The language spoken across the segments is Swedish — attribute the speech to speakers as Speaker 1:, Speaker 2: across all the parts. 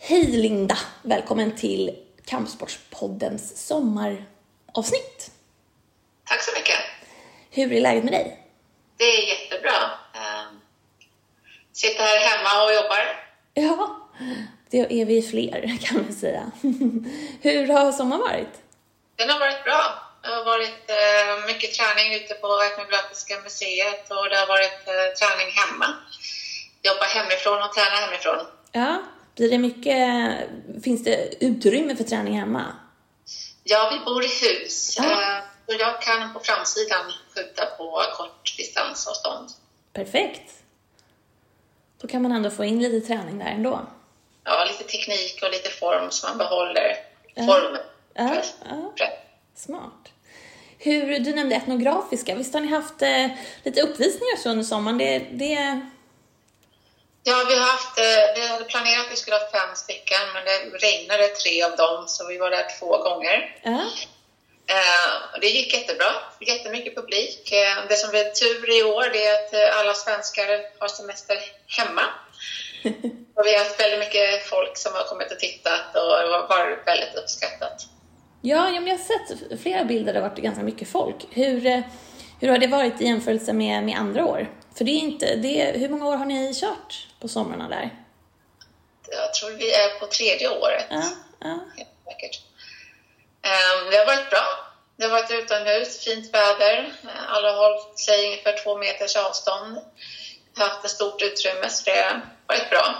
Speaker 1: Hej Linda! Välkommen till Kampsportspoddens sommaravsnitt.
Speaker 2: Tack så mycket.
Speaker 1: Hur är läget med dig?
Speaker 2: Det är jättebra. Ehm, Sitter här hemma och jobbar.
Speaker 1: Ja, det är vi fler kan vi säga. Hur har sommaren varit?
Speaker 2: Den har varit bra. Det har varit eh, mycket träning ute på Etnografiska museet och det har varit eh, träning hemma. Jobba hemifrån och träna hemifrån.
Speaker 1: Ja, blir det mycket, finns det utrymme för träning hemma?
Speaker 2: Ja, vi bor i hus.
Speaker 1: Ja.
Speaker 2: eh, Så jag kan på framsidan skjuta på kort distansavstånd.
Speaker 1: Perfekt! Då kan man ändå få in lite träning där ändå.
Speaker 2: Ja, lite teknik och lite form så man behåller formen.
Speaker 1: Ja,
Speaker 2: Press-
Speaker 1: ja,
Speaker 2: press.
Speaker 1: smart. Hur, du nämnde etnografiska, visst har ni haft eh, lite uppvisningar så under sommaren? Det, det,
Speaker 2: Ja, vi har haft, eh, vi hade planerat att vi skulle ha fem stycken, men det regnade tre av dem, så vi var där två gånger.
Speaker 1: ja,
Speaker 2: Eh, och Det gick jättebra, jättemycket publik. Eh, Det som är tur i år det är att eh, alla svenskar har semester hemma. Och vi har haft väldigt mycket folk som har kommit och tittat och det har varit väldigt uppskattat.
Speaker 1: Ja, ja men jag har sett flera bilder där det har varit ganska mycket folk. Hur, eh, hur har det varit i jämförelse med, med andra år? För det är inte, det är, hur många år har ni kört på somrarna där?
Speaker 2: Jag tror vi är på tredje året.
Speaker 1: Ja, ja,
Speaker 2: helt säkert. Ehm, Det har varit bra. Det har varit utomhus, fint väder. Alla har hållit sig ungefär två meters avstånd. Haft ett stort utrymme, så det har varit bra.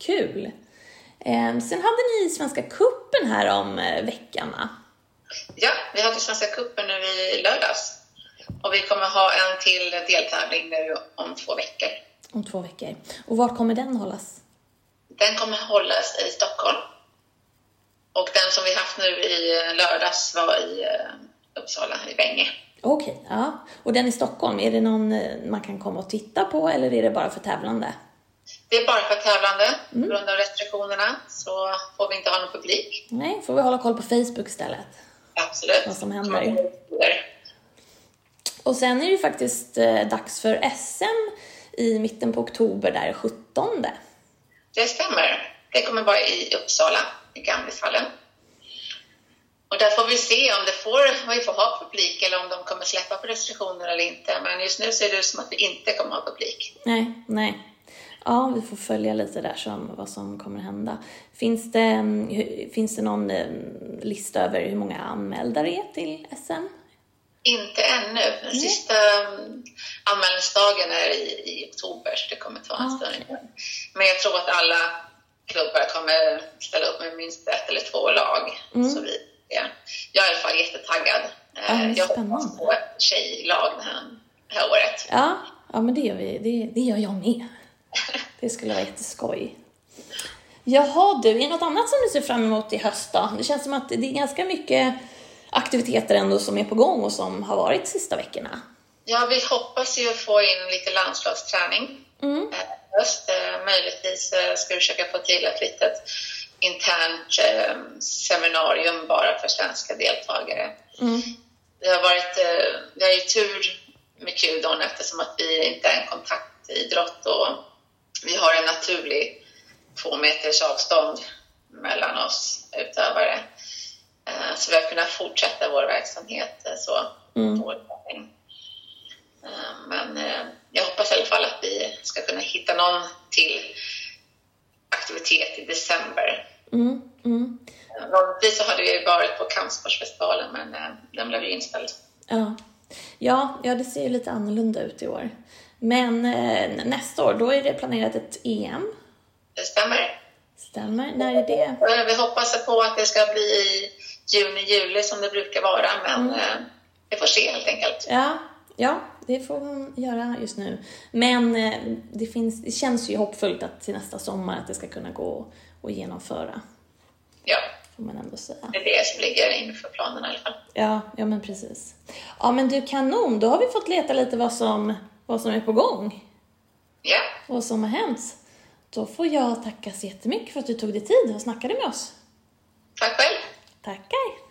Speaker 1: kul. Ehm, sen hade ni Svenska Cupen här om eh, veckan, va?
Speaker 2: Ja, vi hade Svenska cupen nu i lördags. Och vi kommer ha en till deltävling nu om två veckor.
Speaker 1: Om två veckor. Och var kommer den hållas?
Speaker 2: Den kommer hållas i Stockholm. Och den som vi haft nu i lördags var i eh, Uppsala, i Vänge.
Speaker 1: Okej, ja. Och den i Stockholm, är det någon eh, man kan komma och titta på eller är det bara för tävlande?
Speaker 2: Det är bara för tävlande.
Speaker 1: Mm.
Speaker 2: På grund av restriktionerna så får vi inte ha någon publik.
Speaker 1: Nej, får vi hålla koll på Facebook istället.
Speaker 2: Absolut.
Speaker 1: Vad som händer.
Speaker 2: Mm.
Speaker 1: Och sen är det ju faktiskt eh, dags för SM i mitten på oktober, där 17.
Speaker 2: Det stämmer. Det kommer vara i Uppsala, i Gamlefallen. Och där får vi se om det får, om vi får ha publik eller om de kommer släppa på restriktioner eller inte. Men just nu ser det ut som att vi inte kommer ha publik.
Speaker 1: Nej, nej. Ja, vi får följa lite där som, vad som kommer hända. Finns det, mm, hur- finns det någon eh, lista över hur många anmälda det är till SM?
Speaker 2: Inte ännu. Den sista um, anmälningsdagen är i, i oktober, så det kommer ta en
Speaker 1: Ah,
Speaker 2: stund. Men jag tror att alla klubbar kommer ställa upp med minst ett eller två lag.
Speaker 1: Mm.
Speaker 2: Så vi, ja. Jag är i alla fall jättetaggad.
Speaker 1: Ja,
Speaker 2: Eh,
Speaker 1: men
Speaker 2: jag
Speaker 1: Ah, spännande.
Speaker 2: hoppas på ett tjejlag det här, det här året.
Speaker 1: Ja, ja men det gör, vi. Det, det gör jag med. Det skulle vara jätteskoj. Jaha du, är det något annat som du ser fram emot i höst då? Det känns som att det är ganska mycket aktiviteter ändå som är på gång och som har varit sista veckorna.
Speaker 2: Ja, vi hoppas ju få in lite landslagsträning
Speaker 1: Mm.
Speaker 2: eh, i höst. Eh, Möjligtvis eh, ska vi försöka få till ett litet internt eh, seminarium bara för svenska deltagare.
Speaker 1: Mm.
Speaker 2: Det har varit, eh, vi har ju tur med Qdon eftersom att vi inte är en kontaktidrott och vi har en naturlig två meters avstånd mellan oss utövare. Eh, Så vi har kunnat fortsätta vår verksamhet eh, så.
Speaker 1: Mm.
Speaker 2: på vår tävling. Eh, Men eh, jag hoppas i alla fall att vi ska kunna hitta någon till aktivitet i december.
Speaker 1: Mm, mm.
Speaker 2: Eh, Vanligtvis så hade vi varit på Kampsportsfestivalen men eh, den blev ju inställd.
Speaker 1: Ja. Ja, ja, det ser ju lite annorlunda ut i år. Men eh, nästa år, då är det planerat ett EM.
Speaker 2: Det stämmer.
Speaker 1: Stämmer? När är det?
Speaker 2: Eh, Vi hoppas på att det ska bli i juni, juli som det brukar vara,
Speaker 1: Mm.
Speaker 2: men eh, vi får se helt enkelt.
Speaker 1: Ja, ja, det får hon göra just nu. Men eh, det, finns, det känns ju hoppfullt att till nästa sommar att det ska kunna gå att genomföra,
Speaker 2: Ja,
Speaker 1: får man ändå säga.
Speaker 2: det är det som ligger inför planen i alla fall.
Speaker 1: Ja, ja men precis. Ja men du kanon, då har vi fått leta lite vad som, vad som är på gång
Speaker 2: Ja,
Speaker 1: och vad som har hänt. Då får jag tacka så jättemycket för att du tog dig tid och snackade med oss.
Speaker 2: tack själv.
Speaker 1: Tackar!